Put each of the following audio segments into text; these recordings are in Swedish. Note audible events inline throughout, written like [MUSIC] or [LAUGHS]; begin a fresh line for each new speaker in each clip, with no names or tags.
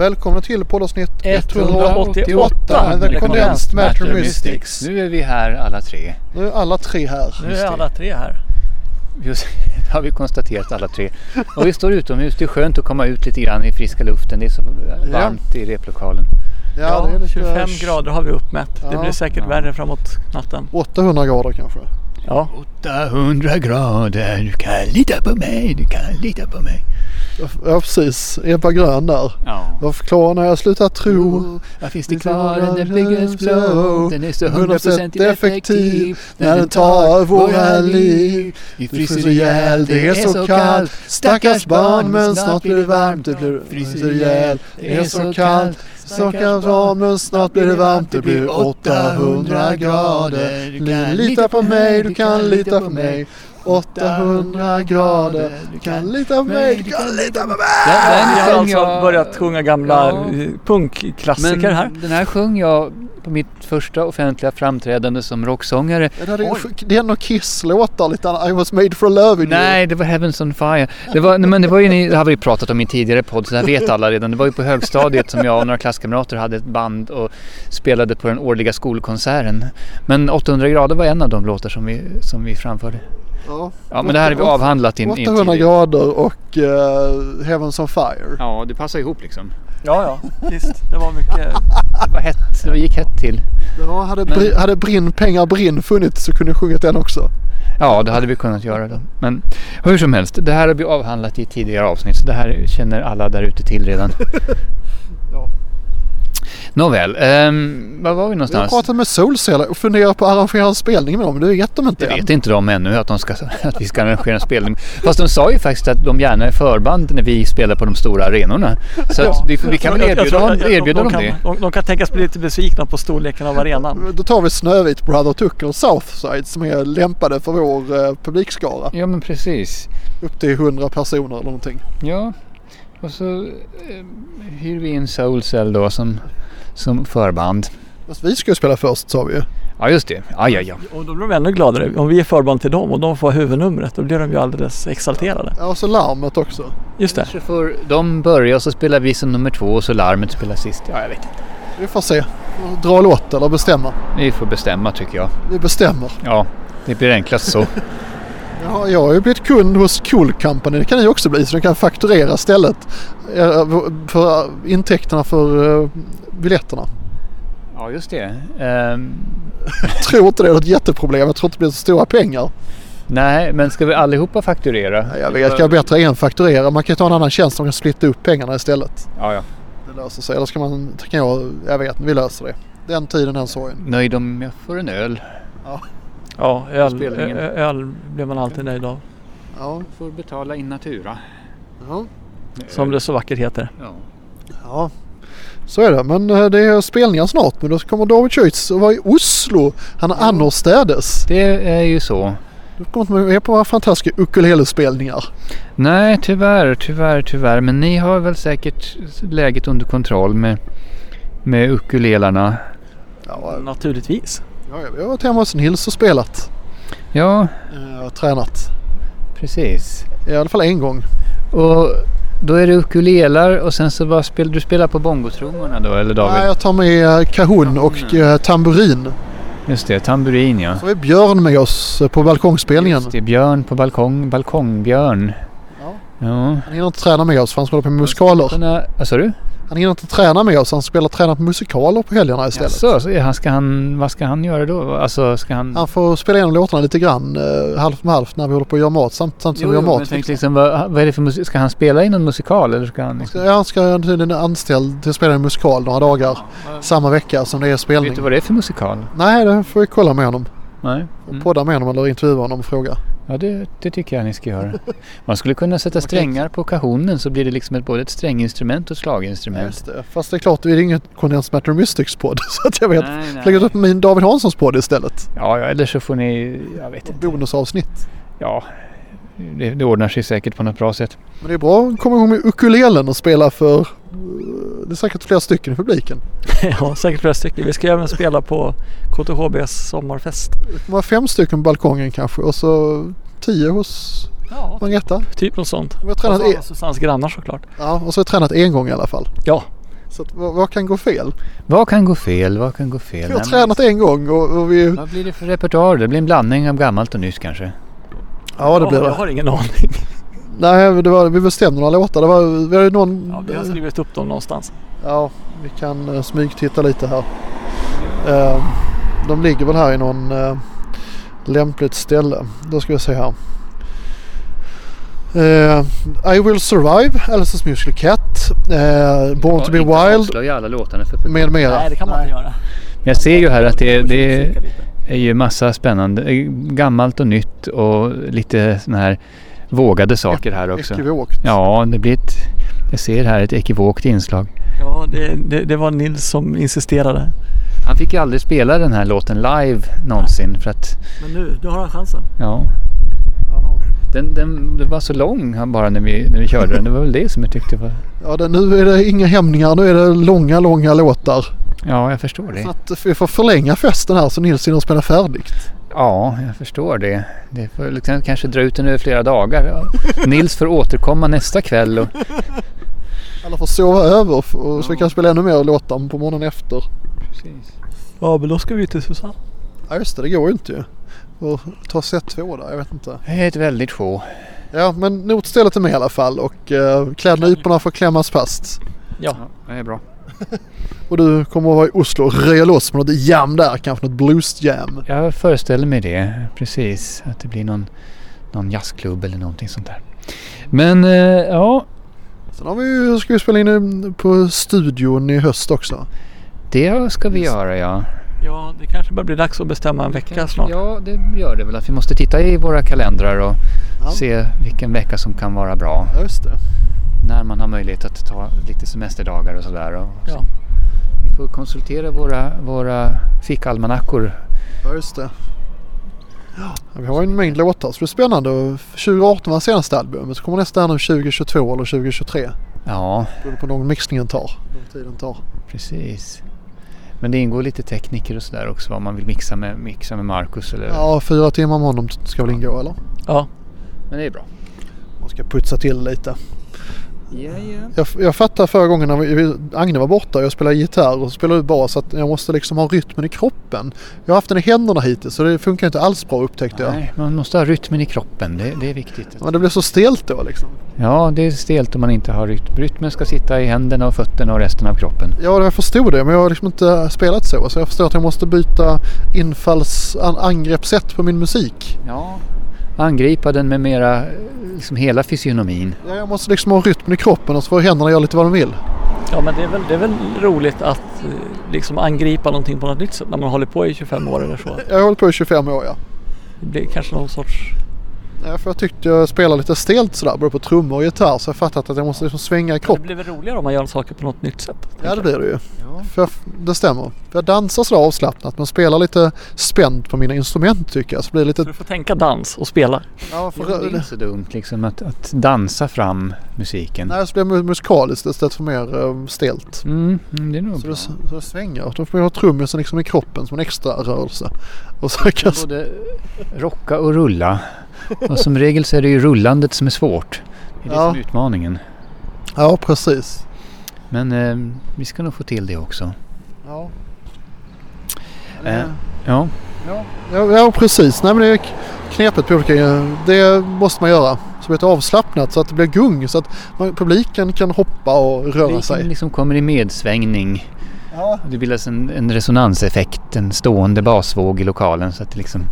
Välkomna till poddavsnitt
188
The Condensed Matter Mystics.
Nu är vi här alla tre.
Nu är alla tre här.
Nu
Just
är
det.
alla tre här.
Just, det har vi konstaterat alla tre. Och vi står utomhus. Det är skönt att komma ut lite grann i friska luften. Det är så varmt i replokalen.
Ja,
det är lite-
25 grader har vi uppmätt. Det
Ja.
blir säkert
Ja.
värre framåt natten.
800 grader kanske.
Ja.
800 grader. Du kan lita på mig. Du kan lita på mig.
Ja precis, Ebba Grön där.
Ja.
Vad förklarar när jag slutar tro?
Här finns det kvar en den biggest blow. Den är så 100% effektiv.
När den tar våra liv.
Vi fryser ihjäl.
det är så kallt. Stackars barn men snart blir det varmt. Det blir
Fryser ihjäl.
Det är så kallt. Stackars barn men snart blir det varmt. Det blir 800 grader.
Du
Du lita på mig, du kan lita på mig. 800 grader. Du kan lita på mig, du kan lita på mig.
Den,
Vi
den
har
sjöng
alltså
jag,
börjat sjunga gamla
Äh, Ja.
eh, punkklassiker här.
men den här sjöng jag på mitt första offentliga framträdande som rocksångare.
Det är ju- Det är nog Kiss-låtar lite annat. I was made for loving you.
Nej, det var Heavens on Fire. Det, var, nej, men det, var ju, ni- det har vi pratat om i en tidigare podd, så det här vet alla redan. Det var ju på högstadiet som jag och några klasskamrater hade ett band och spelade på den årliga skolkonserten. Men 800 grader var en av de låtar som vi, som vi framförde.
Ja.
Ja, men det här har vi avhandlat i en i en
800
tidigare...
grader och uh, Heavens on Fire.
Ja, det passar ihop liksom.
Ja, ja. Visst, det var mycket.
Det var hett, det gick hett till.
Ja, hade,
Men-
bri, hade Brinn pengar Brinn funnits så kunde jag sjungit den också.
Ja, det hade vi kunnat göra då. Men hur som helst, det här har vi avhandlat i tidigare avsnitt. Så det här känner alla där ute
[LAUGHS]
till redan.
Ja.
Nåväl, ehm, var var vi
Jag har
någonstans?
pratat med Solceller och funderar på att arrangera en spelning med dem. Det vet de inte
Det vet inte de ännu att, de ska, [LAUGHS] att vi ska arrangera en spelning. Fast de sa ju faktiskt att de gärna är förband när vi spelar på de stora arenorna. Så att vi, vi kan väl
Jag- jag
erbjuda,
tror- jag-
dem-
jag-
erbjuda
de
dem
kan,
det.
De, de kan tänkas bli lite besvikna på storleken av arenan.
Då tar vi Snövit, Brother Tucker och Southside som är lämpade för vår eh, publikskara.
Ja men precis.
Upp till 100 personer eller någonting.
Ja, och så eh, hyr vi in Soulcell då som, som förband.
Fast vi ska ju spela först sa vi ju.
Ja just det. Ja, ja, ja.
Och då blir de ännu gladare. Om vi är förband till dem och de får huvudnumret då blir de ju alldeles exalterade.
Ja, och så larmet också.
Just det.
Kanske får de börja och så spelar vi som nummer två och så larmet spelar sist. Ja, jag vet inte.
Vi får se. Dra låt eller bestämma.
Vi får bestämma tycker jag.
Vi bestämmer.
Ja, det blir enklast så.
Ja, jag har ju blivit kund hos Cool Company. Det kan ni också bli så ni kan fakturera stället. eh, För intäkterna för eh, biljetterna.
[LAUGHS] ja, just det. Ehm,
Jag tror inte det är ett jätteproblem. Jag tror inte det blir så stora pengar.
nej, men ska vi allihopa fakturera?
Nej, Jag vet, kan bättre en fakturera. Man kan ju ta en annan tjänst som kan splitta upp pengarna istället.
Ja, ja.
Det löser sig. Eller ska man, kan jag, jag vet vi löser det. Den tiden, den sorgen.
Nöjd om jag får en öl.
Ja, öl,
Spelningen.
ö- ö- öl blir man alltid nöjd av.
Ja,
Får betala in natura.
ja.
Som det så vackert heter.
Ja.
ja. Så är det. Men eh, det är spelningar snart. Men då kommer David Schütz att vara i Oslo. Han är annorstädes.
Det är ju så.
Du kommer inte med på våra fantastiska ukulelespelningar.
Nej, tyvärr, tyvärr, tyvärr. Men ni har väl säkert läget under kontroll med, med ukulelarna.
Ja,
Naturligtvis. [LAUGHS]
Ja, jag har varit hemma hos Nils och spelat.
Ja,
eh, Och tränat.
precis.
I alla fall en gång.
Och då är det ukulelar och sen så vad spel, du spelar på bongotrummorna då eller David?
Nej, jag tar med eh, kahun och
Kahonen.
eh, tamburin.
Just det, tamburin ja.
Så har vi Björn med oss eh, på balkongspelningen.
Just det, björn på balkong, balkongbjörn.
Ja.
Ja.
Han hinner inte träna med oss för han spelar på musikaler.
Såna, vad sa du?
Han hinner inte träna med oss. Han spelar träna på musikaler på helgerna istället.
Jaså, så är han, ska han, vad ska han göra då? Alltså ska han...
Han får spela igenom låtarna lite grann eh, halvt med halvt när vi håller på att göra mat samt, samt som
Jo,
vi gör
jo, men
mat.
jag tänkte liksom, vad, vad är det för musik? Ska han spela i någon musikal eller ska han... Liksom,
Ja, han ska tydligen är anställd till att spela en musikal några dagar samma vecka som det är spelning.
vet du vad det är för musikal?
Nej, det får vi kolla med honom.
Nej.
Mm. Podda med honom eller intervjua honom och fråga.
Ja, det, det tycker jag ni ska göra. Man skulle
[LAUGHS]
kunna sätta strängar på kajonen så blir det liksom ett, både ett stränginstrument och ett slaginstrument.
Just det. Fast det är klart, det är inget Condensed Matter Mystics podd. [LAUGHS] Så att jag vet.
Nej, nej.
Lägg upp min David Hanssons podd istället.
Ja, ja, eller så får ni... Jag vet inte.
Bonusavsnitt.
Ja, det, det ordnar sig säkert på något bra sätt.
Men det är bra att komma igång med ukulelen och spela för... eh, Det är säkert flera stycken i publiken.
ja, säkert flera stycken. Vi ska även spela på KTHBs sommarfest.
Det kommer vara fem stycken på balkongen kanske och så tio hos
Ja,
Margareta.
typ något sånt.
Vi har
Och
tränat,
så
e-
Susannes grannar såklart.
ja, och så har vi tränat en gång i alla fall.
Ja,
Så att, vad, vad kan gå fel?
Vad kan gå fel? Vad kan gå fel?
Jag har
Nej, men-
tränat en gång och, och vi...
Vad blir det för repertoar? Det blir en blandning av gammalt och nytt kanske.
Ja, det blir
Jag
det.
har ingen aning.
Nej, det var, vi bestämde några låtar. Det var, vi har ju någon...
Ja, vi [LAUGHS] har skrivit upp dem någonstans.
Ja, vi kan uh, smygtitta lite här. Eh, de ligger väl här i någon eh, lämpligt ställe. Då ska vi se här. Eh, I will survive, Alice's Musical Cat, eh, Born to be
Inte
wild
avslöja alla låtarna för publiken.
med mera.
Nej, det kan man inte göra.
Men jag ser ju här att det, det
Kika lite.
är ju massa spännande, eh, gammalt och nytt och lite sådana här vågade saker här också.
Ekivokt.
Ja, det blir ett, jag ser här ett ekivokt inslag.
Ja, det, det, det var Nils som insisterade.
Han fick ju aldrig spela den här låten live någonsin för att,
Men nu, nu har han chansen.
ja.
Ja.
Den, den, den var så lång han bara när vi, när vi körde den. Det var väl det som jag tyckte var...
Ja, det, nu är det inga hämningar. Nu är det långa, långa låtar.
Ja, jag förstår det.
Så att vi får förlänga festen här så Nils hinner spela färdigt.
Ja, jag förstår det. Det får liksom kanske dra ut den över flera dagar. Ja. Nils får återkomma nästa kväll. Och,
Alla får sova över f- och så vi kan spela ännu mer låtar på morgonen efter.
Ja, men då ska vi till Susanne.
Ja just det, det går ju inte ju. Och ta set två där, jag vet inte.
det är ett väldigt show.
Ja men notstället är med i alla fall och eh, klädnyporna får klämmas fast.
Ja.
det är bra.
Och du kommer att vara i Oslo och röja loss med något jam där, kanske något bluesjam.
Jag föreställer mig det, precis. Att det blir någon, någon jazzklubb eller någonting sånt där. Men eh, ja,
Sen har vi, ju- ska vi spela in på studion i höst också.
det ska vi göra ja.
ja, det kanske börjar bli dags att bestämma en vecka snart.
Ja, det gör det väl. Att vi måste titta i våra kalendrar och
Ja.
se vilken vecka som kan vara bra.
Ja just det.
När man har möjlighet att ta lite semesterdagar och sådär. Och,
Ja.
Vi får konsultera våra, våra fickalmanackor.
Ja just det. Ja, vi har ju en mängd låtar så det är spännande. Och 2018 var senaste albumet. Så kommer nästa här nu 2022 eller 2023.
Ja,
Beroende på hur lång mixningen tar. Hur lång tid den tar.
precis. Men det ingår lite tekniker och sådär också vad man vill mixa med, mixa med Marcus. Eller?
Ja, fyra timmar med honom ska väl ingå eller?
Ja.
Men det är bra.
Man ska putsa till lite.
Ja, ja.
Jag, jag fattade förra gången när vi- vi, Agne var borta och jag spelade gitarr och spelade bas att jag måste liksom ha rytmen i kroppen. Jag har haft den i händerna hittills så det funkar inte alls bra upptäckte jag.
Nej, man måste ha rytmen i kroppen. Det, det är viktigt.
Men det blev så stelt då liksom.
Ja, det är stelt om man inte har rytm. Rytmen ska sitta i händerna och fötterna och resten av kroppen.
Ja, jag förstod det men jag har liksom inte spelat så. Så jag förstår att jag måste byta infalls, an, angreppssätt på min musik.
Ja. Angripa den med mera, eh, liksom hela fysionomin.
Ja, jag måste liksom ha rytmen i kroppen och så får händerna göra lite vad de vill.
ja, men det är, väl, det är väl roligt att eh, liksom angripa någonting på något nytt sätt när man håller på i 25 år eller så.
Jag har hållit på i 25 år ja.
Det blir kanske någon sorts...
Ja, För jag tyckte jag spelade lite stelt sådär både på trummor och gitarr så jag fattat att jag måste liksom svänga i
Det
kroppen.
blir väl roligare om man gör saker på något nytt sätt.
Ja det blir det ju.
Ja.
För jag, det stämmer. För jag dansar sådär avslappnat men spelar lite spänt på mina instrument tycker jag. Så blir det
Du
lite...
får tänka dans och spela.
Ja,
Det är inte så dumt liksom att, att dansa fram musiken.
Nej, så blir det musikaliskt istället för mer eh, stelt.
Mm, mm, det är nog
Så
bra.
det, så det svänger. Då får jag ha trummisen liksom i kroppen som en extra rörelse. [LAUGHS] Och så kan jag...
Både rocka och rulla. Och som regel så är det ju rullandet som är svårt. Det är det
Ja.
som är utmaningen.
Ja precis.
Men eh, vi ska nog få till det också.
Ja.
Eh, ja.
Ja, ja precis. Nej men det är knepet på olika eh, Det måste man göra. Så det blir avslappnat så att det blir gung. Så att man, publiken kan hoppa och röra
Publiken
sig.
liksom kommer i medsvängning.
Ja.
Det bildas en, en resonanseffekt, en stående basvåg i lokalen. Så att det liksom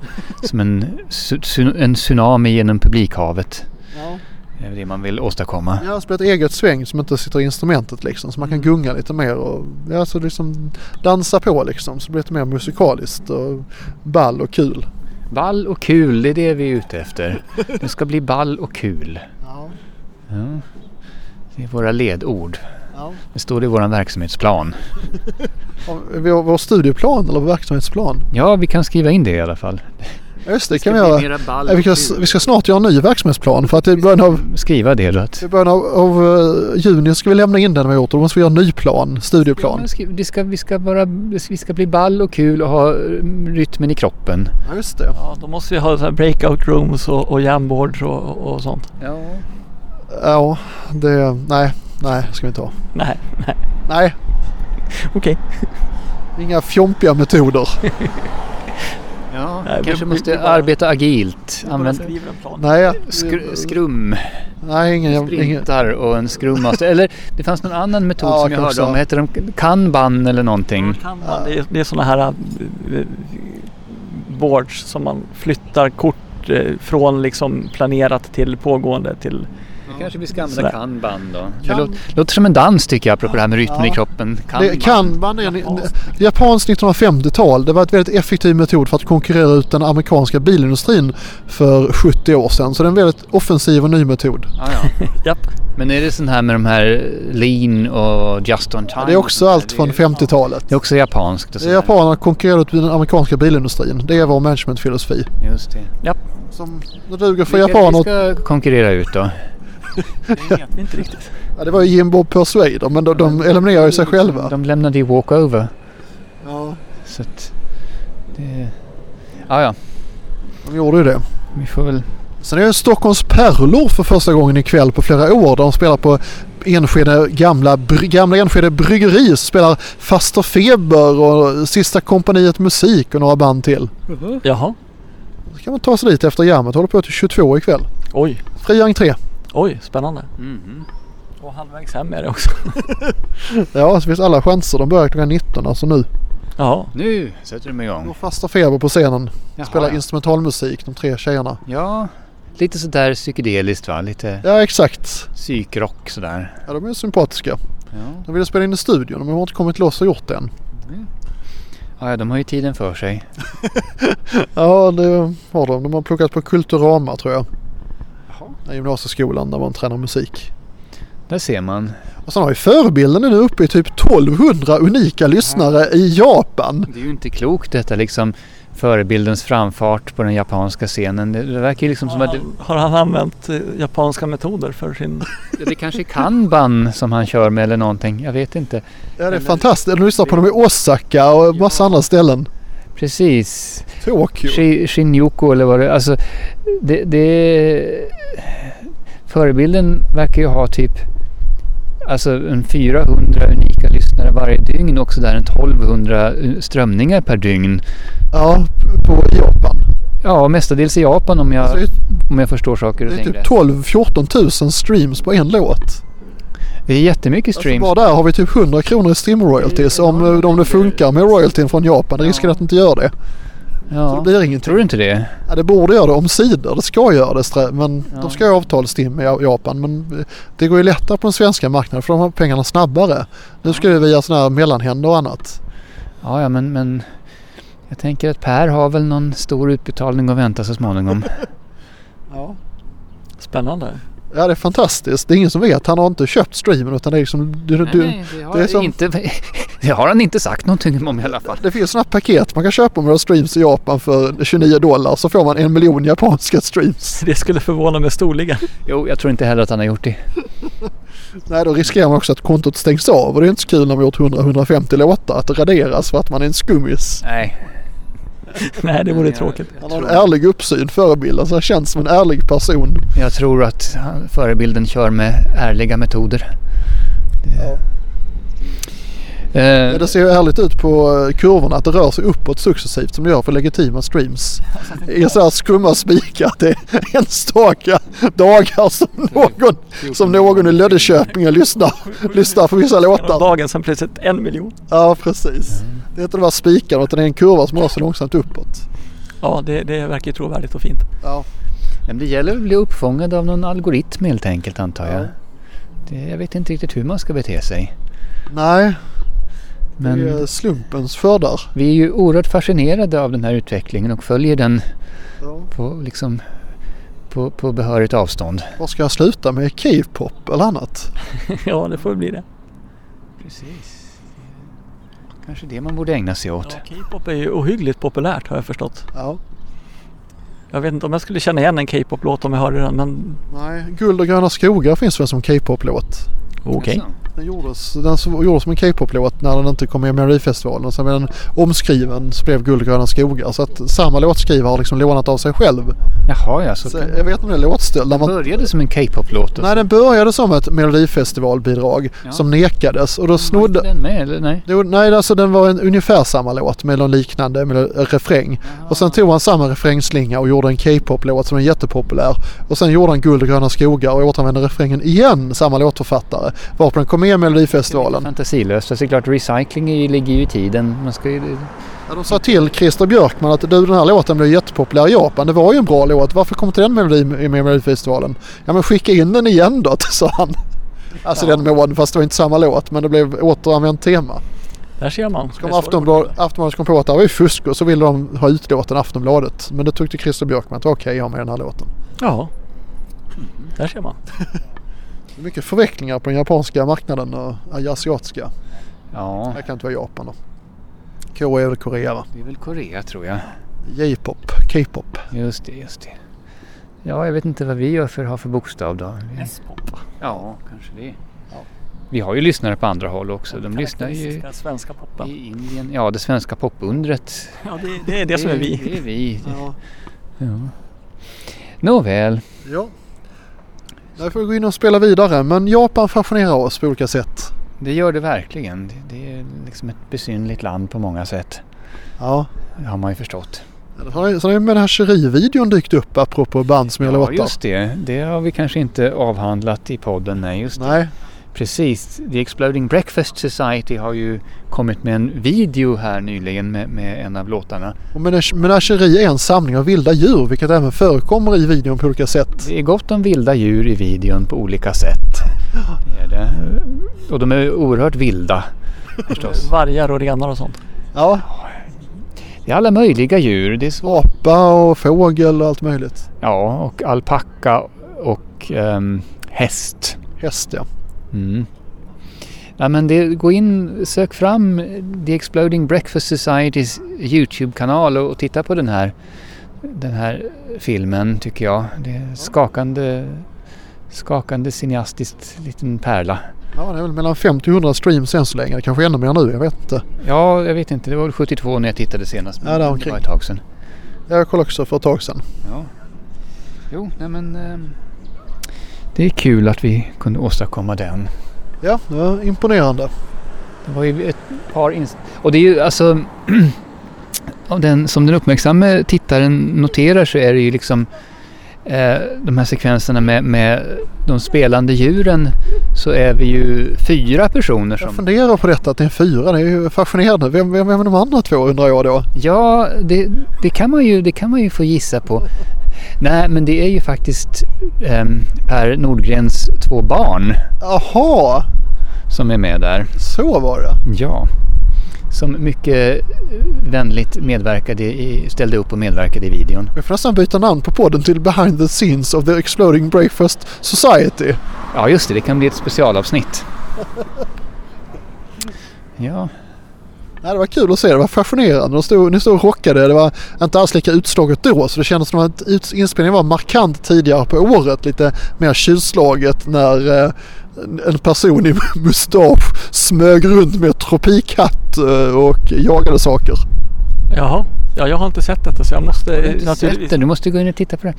som en, su- su- en tsunami genom publikhavet.
Ja.
Det är det man vill åstadkomma.
Ja, spela ett eget sväng som inte sitter i instrumentet liksom. Så man kan gunga lite mer och ja, så liksom dansa på liksom. Så det blir lite mer musikaliskt och ball och kul.
Ball och kul, det är det vi är ute efter. Det ska bli ball och kul.
Ja,
Ja. Det är våra ledord.
ja.
Det står det i vår verksamhetsplan.
Vår, vår studieplan eller vår verksamhetsplan.
Ja, vi kan skriva in det i alla fall.
Ja, just det, kan vi göra.
ball
Nej, Vi, ska, vi ska snart göra en ny verksamhetsplan för att i början av,
Skriva det då. Att...
i början av, av eh, juni ska vi lämna in den vi har gjort och då måste vi göra en ny plan,
Ja,
studieplan.
men skri- Det ska, vi, ska vara, vi ska bli ball och kul och ha mm, rytmen i kroppen.
Ja, just det.
Ja, då måste vi ha så här breakout rooms och, och jamboards och, och sånt.
Ja.
Ja, det, nej, nej ska vi inte ha.
Nej,
Nej,
okej.
Inga fjompiga metoder.
Ja,
Nej, vi-
kanske
vi-
måste
vi bara-
arbeta agilt.
Okay.
Använd
Skriver en plan.
Nej,
skr- skrum.
nej ingen, jävla- ingen,
Sprintar och en scrummaster. Eller det fanns någon annan metod
Ja,
som jag
kan
hörde
också.
om. Heter de kanban eller någonting?
Kan man, det, är, det är sådana här eh, eh, boards som man flyttar kort eh, från liksom planerat till pågående till
kanske vi ska
använda Sådär.
kanban då. Det
Kan-
låter, låter som en dans tycker jag apropå det här med rytmen
Ja.
i kroppen.
det, kanban är en,
Japanskt.
japanskt 1950-tal. Det var ett väldigt effektiv metod för att konkurrera ut den amerikanska bilindustrin för 70 år sedan. Så det är en väldigt offensiv och ny metod.
Ja, ja.
[LAUGHS] Japp.
Men är det sån här med de här lean och just on time?
Det är också allt från 50-talet.
Det är också japanskt. Och sådär.
Japanerna konkurrerade ut den amerikanska bilindustrin. Det är vår managementfilosofi.
Just det.
Som det duger för
Vilka är det
japaner.
vi ska konkurrera ut då?
Det vet vi inte riktigt.
Ja, det var ju Jim Bob Persuader men de, de eliminerar ju sig själva.
De lämnade ju walkover.
Ja.
Så att det... Ja, ja.
De gjorde ju det.
Vi får väl...
Sen är det Stockholms Pärlor för första gången ikväll på flera år. De spelar på Enskede gamla, bry, gamla Enskede bryggeri. Så spelar Faster Feber och Sista kompaniet musik och några band till.
Jaha,
Så kan man ta sig dit efter jammet. Håller på till 22 ikväll.
oj,
Fri entré.
oj, spännande.
Mhm.
Och halvvägs hem är det också.
Ja, så finns alla chanser. De börjar klockan 19 alltså nu.
Jaha,
Nu sätter de
Då
igång.
Faster Feber på scenen.
Jaha,
Spelar
ja.
instrumentalmusik, de tre tjejerna.
ja, lite sådär psykedeliskt va? Lite
Ja, exakt.
psykrock sådär.
Ja, de är sympatiska.
Ja.
De ville spela in i studion men de har inte kommit loss och gjort det än.
Ja, ja, de har ju tiden för sig.
Ja, det har de. De har plockat på Kulturama tror jag. Den gymnasieskolan där man tränar musik.
Där ser man.
Och sen har ju förebilden nu uppe i typ 1200 unika lyssnare i Japan.
Det är ju inte klokt detta liksom. Förebildens framfart på den japanska scenen. Det, det verkar ju liksom som
har
att det,
han, har han använt eh, japanska metoder för sin...
det kanske är kanban som han kör med eller någonting. Jag vet inte.
Ja, det är fantastiskt. De lyssnar på dem i Osaka och massa andra ställen.
Precis.
Tokyo.
Shi- Shinjuku eller vad det är. Alltså, det, det... Förebilden verkar ju ha typ alltså en 400 unika lyssnare varje dygn och sådär en 1200 strömningar per dygn.
Ja, på i Japan.
Ja, mestadels i Japan om jag,
Så Alltså, det är-
om jag förstår saker och
det är
ting
typ
rätt.
12-14 000 streams på en låt.
Det är jättemycket
Alltså
streams.
bara där har vi typ 100 kronor i stream-royalties om, om det funkar med royaltyn från Japan. Det är risken att det inte gör det. Så det
ja.
blir ingenting.
Tror du inte det?
Ja, det borde göra det omsider. Det ska göra det. strä- Men
Ja.
De ska ju ha avtalstim med Japan. Men det går ju lättare på den svenska marknaden för de har pengarna snabbare. Nu ska det via sådana här mellanhänder och annat.
Ja, ja men, men jag tänker att Per har väl någon stor utbetalning att vänta
[LAUGHS]
så småningom.
Ja.
Spännande.
det är fantastiskt. Det är ingen som vet. Han har inte köpt streamen utan det är liksom... Du, du,
det,
det är som-
inte, [LAUGHS] det har han inte sagt någonting om i alla fall.
det finns sådana här paket man kan köpa om du har streams i Japan för 29 dollar så får man en miljon japanska streams.
Det skulle förvåna mig [LAUGHS] storligen.
Jo, jag tror inte heller att han har gjort det.
Nej, då riskerar man också att kontot stängs av och det är inte så kul när man gjort 100-150 låtar att det raderas för att man är en skummis.
Nej.
Nej, det vore tråkigt.
Han har en ärlig uppsyn, förebild. Alltså han känns som en ärlig person.
Jag tror att han- förebilden kör med ärliga metoder.
Ja.
Eh,
Det ser ju ärligt ut på eh, kurvorna att det rör sig uppåt successivt som det gör för legitima streams. I så här skumma spikar att det är enstaka dagar som någon, som någon i Löddeköpinge lyssnar, lyssnar på vissa
Genom
låtar.
dagen sen plötsligt en miljon.
Ja precis. Det är inte de här spikarna utan det är en kurva som rör sig långsamt uppåt.
Ja, det, det verkar ju trovärdigt och fint. [LAUGHS]
Ja.
men det gäller att bli uppfångad av någon algoritm helt enkelt antar jag.
Ja.
Det, jag vet inte riktigt hur man ska bete sig.
Nej,
Men
det är slumpens skördar.
vi är ju oerhört fascinerade av den här utvecklingen och följer den på, liksom, på, på behörigt avstånd.
Vad ska jag sluta med? K-pop eller annat?
Ja, det får väl bli det.
Precis. Kanske det man borde ägna sig åt.
Ja, K-pop är ju ohyggligt populärt har jag förstått.
Ja.
Jag vet inte om jag skulle känna igen en K-pop-låt om jag hörde den, men
Nej, Guld och gröna skogar finns väl som K-pop-låt?
okej.
Jaså.
Den gjordes, den så- gjordes som en K-pop-låt när den inte kom med i Melodifestivalen. Sen blev den omskriven så blev Guld och gröna skogar. Så att samma låtskrivare har liksom lånat av sig själv.
Jaha ja, så
Så jag vet inte om det är låtstöld. När
det
man,
började som en K-pop-låt.
nej, den började som ett Melodifestivalbidrag
Ja.
som nekades och då snodde...
den med eller nej?
Jo, nej, alltså den var en ungefär samma låt med någon liknande med en refräng. Och sen tog han samma refrängslinga och gjorde en K-pop-låt som är jättepopulär. Och sen gjorde han Guld och gröna skogar och återanvände refrängen igen, samma låtförfattare. Varpå den kom med i Melodifestivalen.
Fantasilöst. Fast det är klart, recycling är ju- ligger ju i tiden. Man ska ju...
Ja, de sa till Christer Björkman att du den här låten blev jättepopulär i Japan. Det var ju en bra låt. Varför kom inte den med i med i Melodifestivalen? Ja men skicka in den igen då, [LAUGHS] sa han. Alltså den mån, fast det var inte samma låt men det blev återanvänt tema.
Där ser man.
Kom Aftonbladet, Aftonbladet kom på att det här var ju fusk och så ville de ha ut låten Aftonbladet. Men det tyckte Christer Björkman att det var okej att ha med den här låten.
Ja. Där ser man.
Det är mycket förvecklingar på den japanska marknaden och ja, asiatiska.
Ja,
Det kan inte vara Japan då. K är väl Korea va?
det är väl Korea tror jag.
J-pop, K-pop.
Just det, just det. Ja, jag vet inte vad vi gör för, har för bokstav då. Vi,
S-pop.
ja, kanske det.
Ja.
Vi har ju lyssnare på andra håll också. De lyssnar ju
svenska poppen.
i Indien. Ja, det svenska popundret.
Ja, det, det är det som är
Det
vi.
är vi. Ja. Nåväl.
Ja. Där får vi gå in och spela vidare men Japan fascinerar oss på olika sätt.
Det gör det verkligen. Det- Det är liksom ett besynligt land på många sätt.
Ja.
Det har man ju förstått.
Sen har ju menagerivideon dykt upp apropå band som gör
Ja,
låtar.
just det. Det har vi kanske inte avhandlat i podden. Nej, just det.
Nej,
Precis. The Exploding Breakfast Society har ju kommit med en video här nyligen med, med en av låtarna.
och menag- menageri är en samling av vilda djur vilket även förekommer i videon på olika sätt.
Det är gott om vilda djur i videon på olika sätt. Det är det. Och de är oerhört vilda förstås.
Vargar och renar och sånt.
Ja,
Det är alla möjliga djur. Det är svårt.
apa och fågel och allt möjligt.
Ja, och alpacka och ehm, häst.
Häst ja.
Mm. Ja, men det, gå in, sök fram The Exploding Breakfast Societys YouTube-kanal och, och titta på den här, den här filmen tycker jag. Det är en skakande, skakande cineastiskt liten pärla.
Ja, det är väl mellan 50 och 100 streams än så länge. Det kanske är ännu mer nu, jag vet inte.
Ja, jag vet inte, det var väl 72 när jag tittade senast. men
Ja, där
det
omkring.
var ett tag sedan.
Jag kollade också för ett tag sedan.
Ja. Jo, nej men... ehm, Det är kul att vi kunde åstadkomma den.
Ja, det var imponerande.
Det var ju ett par inst- Och det är ju alltså... [CLEARS THROAT] av den, som den uppmärksamme tittaren noterar så är det ju liksom eh, de här sekvenserna med, med de spelande djuren så är vi ju fyra personer
Jag
som...
funderar på detta att det är fyra. Det är ju fascinerande. Vem, vem, vem är de andra två undrar jag då?
Ja, det, det, kan man ju, det kan man ju få gissa på. Nej, men det är ju faktiskt eh, Per Nordgrens två barn
Aha,
som är med där.
så var det.
Ja. Som mycket eh, vänligt medverkade i, ställde upp och medverkade i videon.
Vi får nästan byta namn på podden till Behind the Scenes of the Exploding Breakfast Society.
Ja, just det. Det kan bli ett specialavsnitt. Ja,
Ja, det var kul att se, det var fascinerande. De stod, ni stod och rockade, det var inte alls lika utslaget då så det kändes som att ut- inspelningen var markant tidigare på året. Lite mer kylslaget när eh, en- en person i [LAUGHS] mustasch smög runt med tropikhatt eh, och jagade saker.
Jaha. Ja, jag har inte sett detta så jag måste
du har inte sett
Eh, naturligtvis...
den. Du måste gå in och titta på den.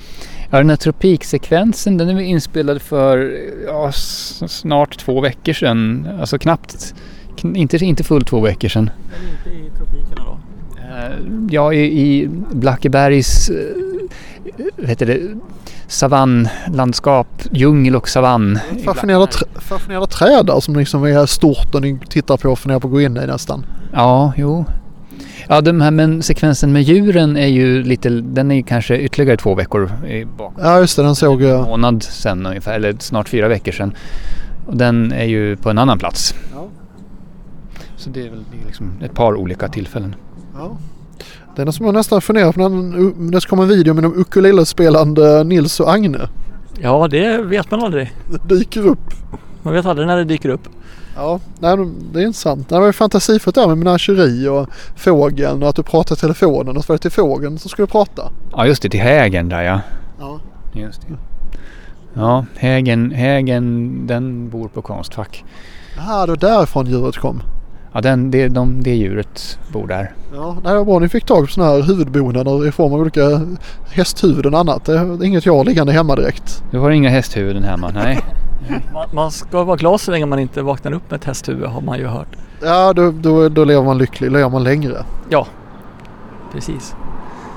Ja, den här tropiksekvensen den är väl inspelad för ja, s- snart två veckor sedan. Alltså knappt, kn- inte, inte fullt två veckor sedan.
Men inte i tropikerna då?
Eh, Ja, i, i Blackebergs eh, vad heter det, savannlandskap, djungel och savann.
Fascinerande, tr- fascinerande träd där som liksom är stort och ni tittar på och funderar på att gå in i nästan.
Ja, jo. Ja, den här men sekvensen med djuren är ju lite, den är ju kanske ytterligare två veckor eh, bakåt.
Ja just det, den såg
En
jag.
månad sedan ungefär, eller snart fyra veckor sedan. Och den är ju på en annan plats.
Ja.
Så det är väl det är liksom ett par olika tillfällen.
Ja. Det är något som jag nästan funderar på när det kommer en video med de ukulelespelande Nils och Agne.
Ja, det vet man aldrig.
Det dyker upp.
Man vet aldrig när det dyker upp.
Ja, nej, det är intressant. Det var ju fantasifullt där med menageri och fågeln och att du pratade i telefonen och så var det till fågeln som skulle prata.
Ja, just det, till hägen där ja.
Ja.
Just det. Ja, hägen, hägen den bor på Konstfack.
Jaha, det var därifrån djuret kom.
Ja, den, det, de, det djuret bor där.
Ja, det var bra ni fick tag på sådana här huvudbonader i form av olika hästhuvuden och annat. Det är inget jag har liggande hemma direkt.
Du har inga hästhuvuden hemma, nej.
Man, man ska vara glad så länge man inte vaknar upp med ett hästhuvud har man ju hört.
Ja, då, då, då lever man lycklig, då lever man längre.
Ja, precis.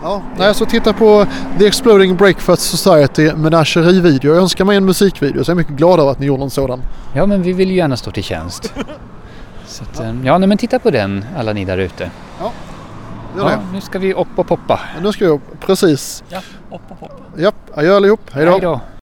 Ja, nej, så titta på The Exploding Breakfast Society menagerivideo. Jag önskar mig en musikvideo så jag är mycket glad över att ni gjorde en sådan.
Ja, men vi vill ju gärna stå till tjänst. Så att, eh, ja, nej, men titta på den alla ni där ute.
Gör det.
Ja, nu ska vi upp och poppa.
Nu ska jag, precis.
Ja, hoppa, hoppa.
Japp, adjö allihop. Hej då.
då.